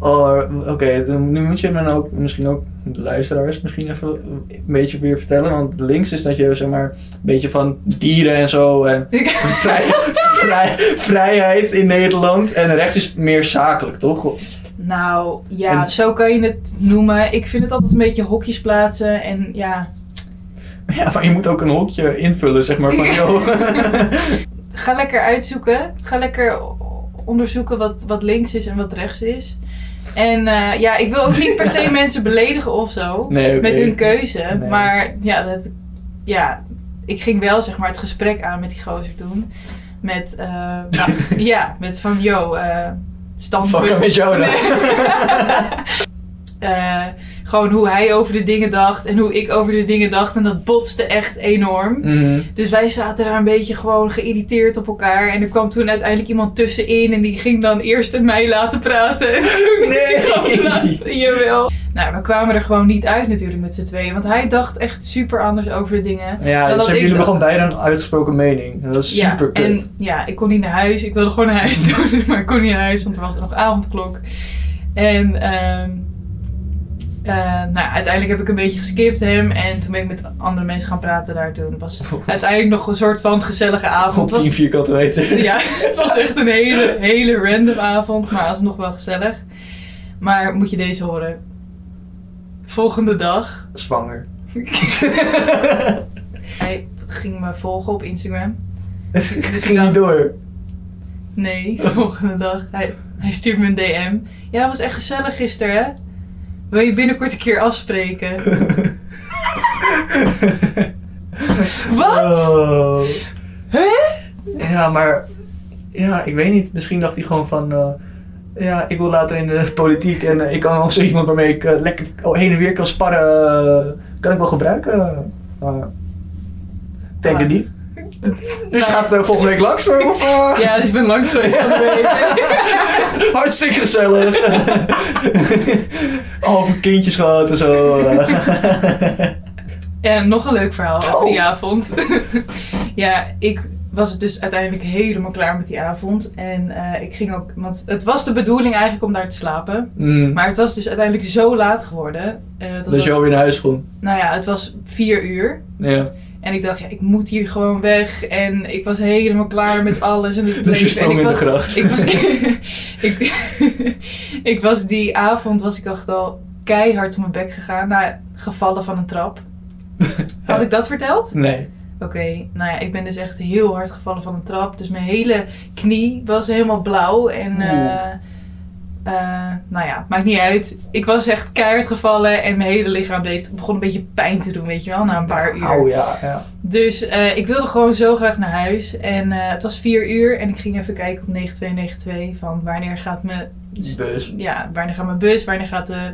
S1: Oh, Oké, dan- nu moet je me nou ook, misschien ook de luisteraars misschien even een beetje weer vertellen. Want links is dat je zeg maar een beetje van dieren en zo en vrij, vrij, vrijheid in Nederland. En rechts is meer zakelijk, toch?
S2: nou ja,
S1: En-
S2: zo kan je het noemen. Ik vind het altijd een beetje hokjes plaatsen en ja,
S1: Ja, maar je moet ook een hokje invullen, zeg maar. Van, joh.
S2: ga lekker uitzoeken. Ga lekker onderzoeken wat, wat links is en wat rechts is. En eh, ja, ik wil ook niet per se mensen beledigen of zo.
S1: Nee, oké.
S2: Met hun keuze.
S1: Nee.
S2: Maar ja, dat, ja, ik ging wel zeg maar het gesprek aan met die gozer toen. Met, eh, nou, ja, met van, yo, eh standpunt.
S1: Fuck met jou dan.
S2: Eh, gewoon hoe hij over de dingen dacht en hoe ik over de dingen dacht. En dat botste echt enorm.
S1: Mhm.
S2: Dus wij zaten daar een beetje gewoon geïrriteerd op elkaar. En er kwam toen uiteindelijk iemand tussenin. En die ging dan eerst mij laten praten. En
S1: Nee.
S2: toen die gast laten- Jawel. Nou, we kwamen er gewoon niet uit natuurlijk met z'n tweeën. Want hij dacht echt super anders over de dingen.
S1: Ja,
S2: Dan
S1: dus
S2: dat
S1: hebben
S2: ik
S1: jullie
S2: dacht.
S1: gewoon beide een uitgesproken mening. En Dat is
S2: Ja,
S1: super
S2: en
S1: kut.
S2: ja, ik kon niet naar huis. Ik wilde gewoon naar huis doen, maar ik kon niet naar huis, want er was nog avondklok. En ehm, eh, nou, uiteindelijk heb ik een beetje geskipt hem. En toen ben ik met andere mensen gaan praten daar toen. Het was uiteindelijk nog een soort van gezellige
S1: Op
S2: avond. Het was
S1: 10 vierkante meter.
S2: Ja, het was echt een hele, hele random avond, maar alsnog wel gezellig. Maar moet je deze horen? Volgende dag,
S1: Zwanger.
S2: hij ging me volgen op Instagram.
S1: Het ging
S2: Dus dan-
S1: niet door.
S2: Nee, volgende dag, hij, hij stuurt me een DM. Ja, het was echt gezellig gisteren, hè? Wil je binnenkort een keer afspreken? Wat?
S1: Oh.
S2: Hè?
S1: Ja, maar... Ja, ik weet niet. Misschien dacht hij gewoon van... eh, ja, ik wil later in de politiek en eh, ik kan wel zo iemand waarmee ik eh, lekker heen en weer kan sparren. eh, kan ik wel gebruiken. Maar ik denk het niet. Dus
S2: Nou,
S1: gaat eh, volgende week langs? eh, Of, eh?
S2: Ja, dus ik ben langs geweest van de week.
S1: Hartstikke gezellig. oh, over kindjes gehad en zo.
S2: En nog een leuk verhaal over die
S1: Oh.
S2: avond. ja, ik was dus uiteindelijk helemaal klaar met die avond. En eh, ik ging ook, want het was de bedoeling eigenlijk om daar te slapen.
S1: Mm,
S2: Maar het was dus uiteindelijk zo laat geworden. eh, dat
S1: dat
S2: het-
S1: je alweer naar huis kon.
S2: Nou ja, het was vier uur.
S1: Ja.
S2: En ik dacht, ja, ik moet hier gewoon weg. En ik was helemaal klaar met alles. En het
S1: Dus je
S2: leven. en
S1: sprong
S2: ik
S1: in de
S2: was,
S1: gracht.
S2: ik was, ik, ik was die avond, was ik echt al keihard op mijn bek gegaan. Na gevallen van een trap. Had ik dat verteld?
S1: Nee.
S2: Oké, nou ja, ik ben dus echt heel hard gevallen van een trap. Dus mijn hele knie was helemaal blauw. En eh,
S1: Oeh.
S2: eh, nou ja, maakt niet uit. Ik was echt keihard gevallen. En mijn hele lichaam deed, begon een beetje pijn te doen, weet je wel, na een paar uur.
S1: Au, Oh, ja, ja.
S2: Dus eh, ik wilde gewoon zo graag naar huis. En eh, het was vier uur en ik ging even kijken op 9292 van wanneer gaat mijn...
S1: Bus.
S2: Ja, wanneer gaat mijn bus, wanneer gaat de,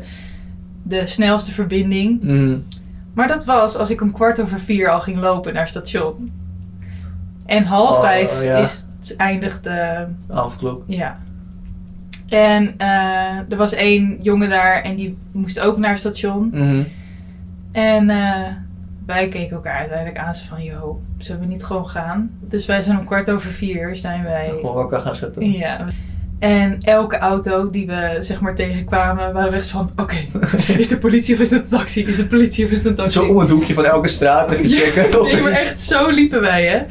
S2: de snelste verbinding.
S1: Mm.
S2: Maar dat was als ik om kwart over vier al ging lopen naar het station. En half
S1: Oh,
S2: vijf
S1: ja.
S2: is, eindigt de...
S1: Avondklok.
S2: Ja. En eh, er was één jongen daar en die moest ook naar het station.
S1: Mhm.
S2: En eh, wij keken elkaar uiteindelijk aan. Ze van, joh, zullen we niet gewoon gaan? Dus wij zijn om kwart over vier zijn wij...
S1: Gewoon wakker gaan zetten.
S2: Ja. En elke auto die we zeg maar tegenkwamen, waren we echt van, oké, is de politie of is het een taxi? Is het politie of is het een taxi?
S1: Zo om het hoekje van elke straat even
S2: Ja,
S1: checken. Of
S2: Nee, maar echt zo liepen wij, hè.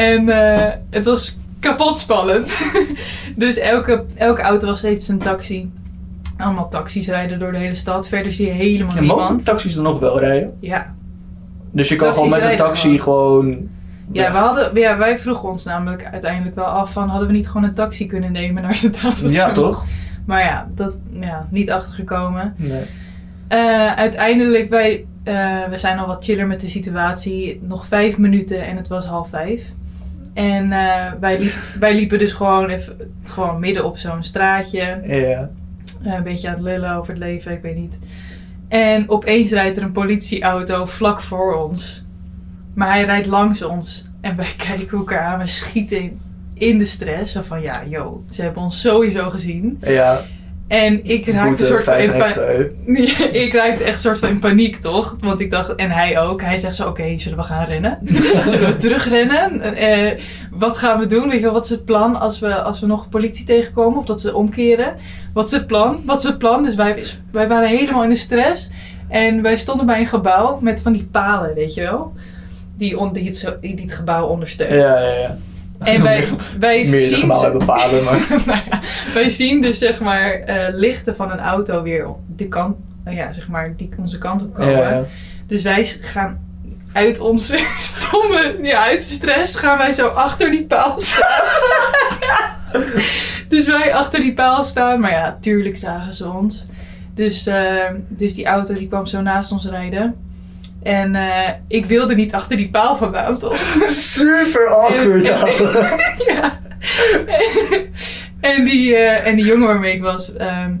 S2: En eh, het was kapot spannend. dus elke, elke auto was steeds een taxi. Allemaal taxis rijden door de hele stad. Verder zie je helemaal
S1: en mogen
S2: niemand.
S1: taxis dan nog wel rijden?
S2: Ja,
S1: Dus je kan
S2: Taxis
S1: gewoon met een
S2: rijden
S1: taxi gewoon...
S2: Ja, we hadden, ja, wij vroegen ons namelijk uiteindelijk wel af van hadden we niet gewoon een taxi kunnen nemen naar Centraal Station?
S1: Ja, toch?
S2: Maar ja, dat ja, niet achtergekomen.
S1: Nee.
S2: Eh, uiteindelijk, wij, eh, we zijn al wat chiller met de situatie. Nog vijf minuten en het was half vijf. En eh, wij, liep- wij liepen dus gewoon, even, gewoon midden op zo'n straatje.
S1: Ja.
S2: Eh, een beetje aan het lullen over het leven, ik weet niet. En opeens rijdt er een politieauto vlak voor ons. Maar hij rijdt langs ons. En wij kijken elkaar aan, we schieten in, in de stress. Zo van, ja, yo, ze hebben ons sowieso gezien.
S1: Ja.
S2: En ik raakte
S1: Boete,
S2: een soort van... in
S1: 50
S2: pa-
S1: extra euro.
S2: ik raakte echt soort van in paniek, toch? Want ik dacht, en hij ook. Hij zegt zo, oké, zullen we gaan rennen? zullen we terugrennen? Eh, wat gaan we doen? Weet je wel, wat is het plan als we, als we nog politie tegenkomen? Of dat ze omkeren? Wat is het plan? Wat is het plan? Dus wij, wij waren helemaal in de stress. En wij stonden bij een gebouw met van die palen, weet je wel? Die, on, die, het, zo- die het gebouw ondersteunt.
S1: Ja, ja, ja.
S2: En wij, wij
S1: Meerdere
S2: zien...
S1: gebouwen
S2: ze-
S1: bepalen, maar...
S2: nou ja, wij zien dus zeg maar eh, lichten van een auto weer op de kant, nou ja, zeg maar, die onze kant op komen.
S1: Ja, ja.
S2: Dus wij s- gaan uit onze stomme, ja, uit de stress gaan wij zo achter die paal staan. dus wij achter die paal staan, maar ja, tuurlijk zagen ze ons. Dus, eh, dus die auto die kwam zo naast ons rijden. En eh, ik wilde niet achter die paal vandaan, toch?
S1: Super awkward.
S2: En-
S1: ouwe.
S2: ja. en, die, eh, en die jongen waarmee ik was, ehm,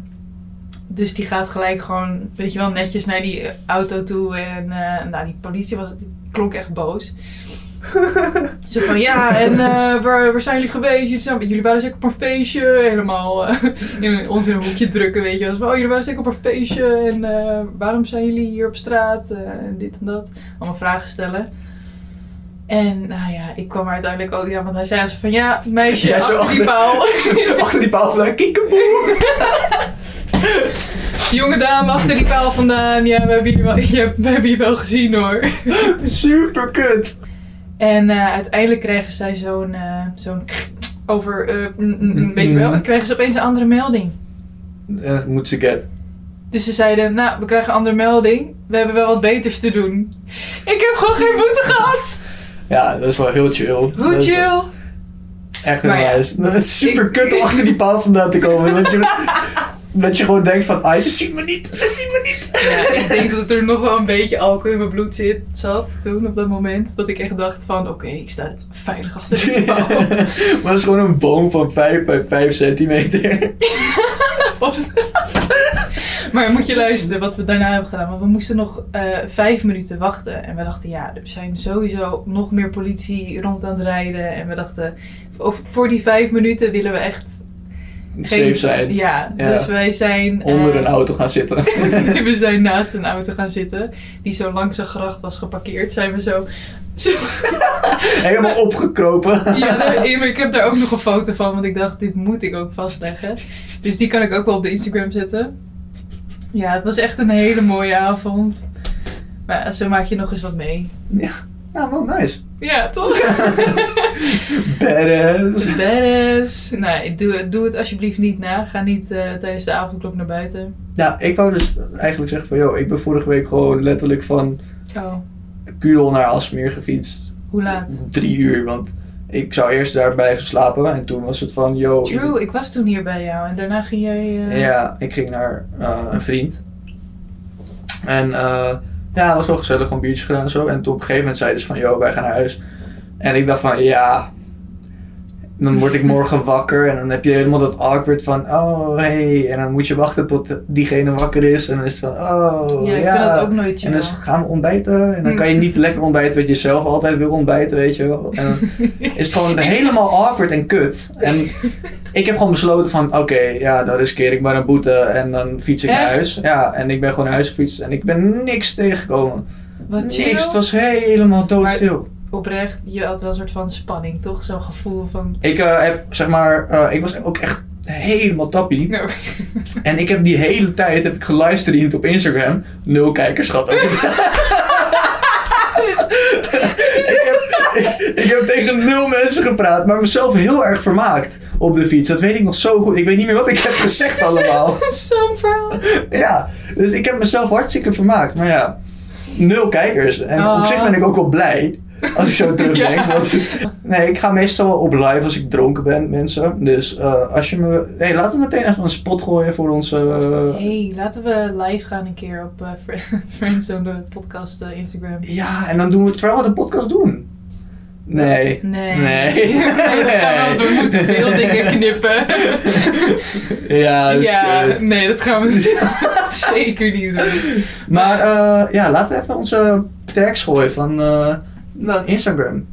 S2: dus die gaat gelijk gewoon, weet je wel, netjes naar die eh, auto toe. En eh, nou, die politie was, die klonk echt boos. Zo van, ja, en eh, waar, waar zijn jullie geweest? Jullie, zijn, jullie waren zeker op een feestje. Helemaal eh, in, ons in een hoekje drukken, weet je wel. Zo van, oh, jullie waren zeker op een feestje. En eh, waarom zijn jullie hier op straat? Eh, en dit en dat. Allemaal vragen stellen. En nou ja, ik kwam er uiteindelijk ook, ja, want hij zei zo van, ja, meisje,
S1: Jij zo
S2: achter, die paal.
S1: Achter die paal vandaan, kiekeboe.
S2: Jonge dame, achter die paal vandaan. Ja, we hebben je wel, ja, we hebben je wel gezien hoor.
S1: Super kut.
S2: En eh, uiteindelijk kregen zij zo'n, eh, zo'n over, eh, mm, mm, mm, weet je wel. En kregen ze opeens een andere melding.
S1: Eh, moet ze get.
S2: Dus ze zeiden, nou, we krijgen een andere melding. We hebben wel wat beters te doen. Ik heb gewoon geen boete gehad.
S1: Ja, dat is wel heel chill. Dat
S2: Hoe
S1: is wel
S2: chill.
S1: Echt een
S2: Maar ja,
S1: huis. Het is super
S2: ik-
S1: kut om achter die paal vandaan te komen. Dat je, dat je gewoon denkt van, ah, ze zien me niet, ze zien me niet.
S2: Ja, ik denk dat er nog wel een beetje alcohol in mijn bloed zit, zat toen op dat moment. Dat ik echt dacht van, oké, ik sta veilig achter deze paal.
S1: maar het is gewoon een boom van 5 bij 5 centimeter.
S2: Was het- maar moet je luisteren wat we daarna hebben gedaan. Want we moesten nog eh, vijf minuten wachten. En we dachten, ja, er zijn sowieso nog meer politie rond aan het rijden. En we dachten, of voor die vijf minuten willen we echt
S1: safe zijn.
S2: Ja,
S1: Ja.
S2: dus wij zijn... eh,
S1: Onder een auto gaan zitten.
S2: we zijn naast een auto gaan zitten die zo langs een gracht was geparkeerd. Zijn we zo... zo
S1: Helemaal opgekropen.
S2: ja, daar- ja, maar ik heb daar ook nog een foto van, want ik dacht, dit moet ik ook vastleggen. Dus die kan ik ook wel op de Instagram zetten. Ja, het was echt een hele mooie avond. Maar zo maak je nog eens wat mee.
S1: Ja. Nou, wel nice.
S2: Ja, toch?
S1: Badass.
S2: Badass. Nee, doe, doe het alsjeblieft niet na. Ga niet eh, tijdens de avondklok naar buiten.
S1: Ja, ik wou dus eigenlijk zeggen van, joh, ik ben vorige week gewoon letterlijk van
S2: Oh,
S1: Kuurl naar Alsmeer gefietst.
S2: hoe laat?
S1: Drie uur, want ik zou eerst daar blijven slapen en toen was het van, yo...
S2: True, ik was toen hier bij jou en daarna ging jij... eh,
S1: Ja, ik ging naar eh, een vriend. En eh, ja, het was wel gezellig, gewoon biertjes gedaan en zo. En toen op een gegeven moment zeiden ze van, joh, wij gaan naar huis. En ik dacht van, ja, dan word ik morgen wakker. En dan heb je helemaal dat awkward van, oh, hey. En dan moet je wachten tot diegene wakker is. En dan is het van, oh,
S2: Ja,
S1: ja.
S2: ik vind dat ook nooit
S1: en
S2: chill.
S1: dan gaan we ontbijten. En dan kan je niet lekker ontbijten wat je zelf altijd wil ontbijten, weet je wel. En dan is het gewoon helemaal awkward en kut. En ik heb gewoon besloten van, oké, ja, dan riskeer ik maar een boete en dan fiets ik naar
S2: Echt?
S1: huis. Ja, en ik ben gewoon naar huis gefietst en ik ben niks tegengekomen.
S2: Wat chill.
S1: Niks, het was helemaal doodstil.
S2: Oprecht, je had wel een soort van spanning, toch? Zo'n gevoel van...
S1: Ik eh, heb, zeg maar, eh, ik was ook echt helemaal tappie.
S2: Nou,
S1: En ik heb die hele tijd, heb ik gelivestreamd op Instagram. Nul kijkers gehad. ook. ik, heb, ik, ik heb tegen nul mensen gepraat, maar mezelf heel erg vermaakt op de fiets. Dat weet ik nog zo goed. Ik weet niet meer wat ik heb gezegd allemaal.
S2: Zo'n verhaal.
S1: Ja, dus ik heb mezelf hartstikke vermaakt. Maar ja, nul kijkers. En op
S2: Oh.
S1: zich ben ik ook wel blij. Als ik zo terugdenk.
S2: Ja.
S1: want, nee, ik ga meestal wel op live als ik dronken ben, mensen. Dus eh, als je me... hey, laten we meteen even een spot gooien voor onze...
S2: hey, laten we live gaan een keer op eh, Fri- Friends on the podcast eh, Instagram.
S1: Ja, en dan doen we... Terwijl we de podcast doen. Nee.
S2: Nee.
S1: Nee.
S2: dat gaan we, we moeten veel dingen knippen.
S1: Ja, dat is
S2: ja,
S1: kut.
S2: nee, dat gaan we zeker niet doen.
S1: Maar eh, ja, laten we even onze tags gooien van eh,
S2: Wat?
S1: Instagram.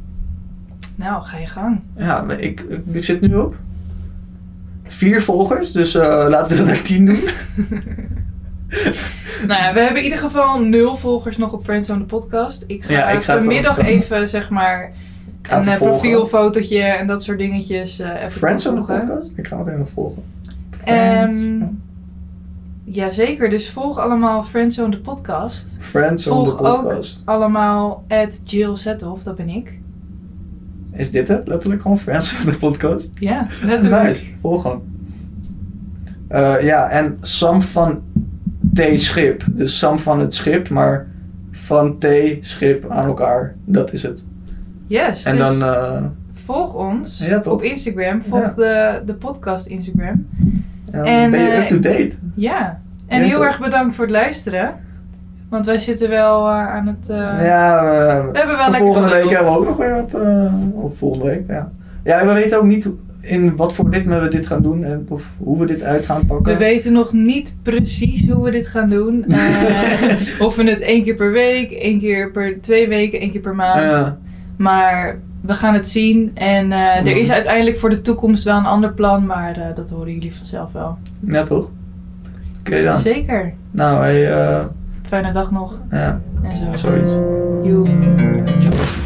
S2: Nou, ga je gang.
S1: Ja, maar ik, ik, ik zit nu op vier volgers, dus eh, laten we dat naar tien doen.
S2: Nou ja, we hebben in ieder geval nul volgers nog op Friends on the podcast. Ik ga,
S1: Ja, ik ga het
S2: vanmiddag
S1: ook, eh,
S2: even, zeg maar,
S1: Ik ga
S2: een
S1: even
S2: eh,
S1: volgen.
S2: profielfotootje en dat soort dingetjes eh even
S1: Friends on the
S2: toevoegen.
S1: podcast? Ik ga het even volgen.
S2: Ehm Jazeker, dus volg allemaal Friends on the podcast.
S1: Friends on the
S2: Volg ook
S1: podcast.
S2: allemaal at Jill Zethoff, dat ben ik.
S1: Is dit het? Letterlijk gewoon Friends on the podcast?
S2: Ja, letterlijk.
S1: Nice, volg hem. Eh, ja, en Sam van T. Schip. Dus Sam van het schip, maar van T. Schip aan elkaar. Dat is het.
S2: Yes,
S1: En
S2: dus
S1: dan... eh,
S2: volg ons
S1: Ja, toch?
S2: op Instagram. Volg de, de podcast Instagram.
S1: dan
S2: En,
S1: ben je
S2: eh,
S1: up-to-date.
S2: Ja, en
S1: Ja,
S2: heel
S1: toch?
S2: erg bedankt voor het luisteren. Want wij zitten wel eh, aan het... eh,
S1: Ja, we,
S2: we
S1: voor
S2: hebben wel lekker
S1: volgende week
S2: geduld.
S1: hebben we ook nog weer wat. eh, of volgende week, ja. Ja, we weten ook niet in wat voor ritme we dit gaan doen en of hoe we dit uit gaan pakken.
S2: We weten nog niet precies hoe we dit gaan doen. Eh, of we het één keer per week, één keer per twee weken, één keer per maand.
S1: Ja.
S2: Maar we gaan het zien. En eh, er is uiteindelijk voor de toekomst wel een ander plan. Maar eh, dat horen jullie vanzelf wel.
S1: ja, toch? Oké dan.
S2: Zeker.
S1: Nou, hey, eh,
S2: Fijne dag nog.
S1: ja,
S2: En zo.
S1: zoiets.
S2: Joe. Ciao.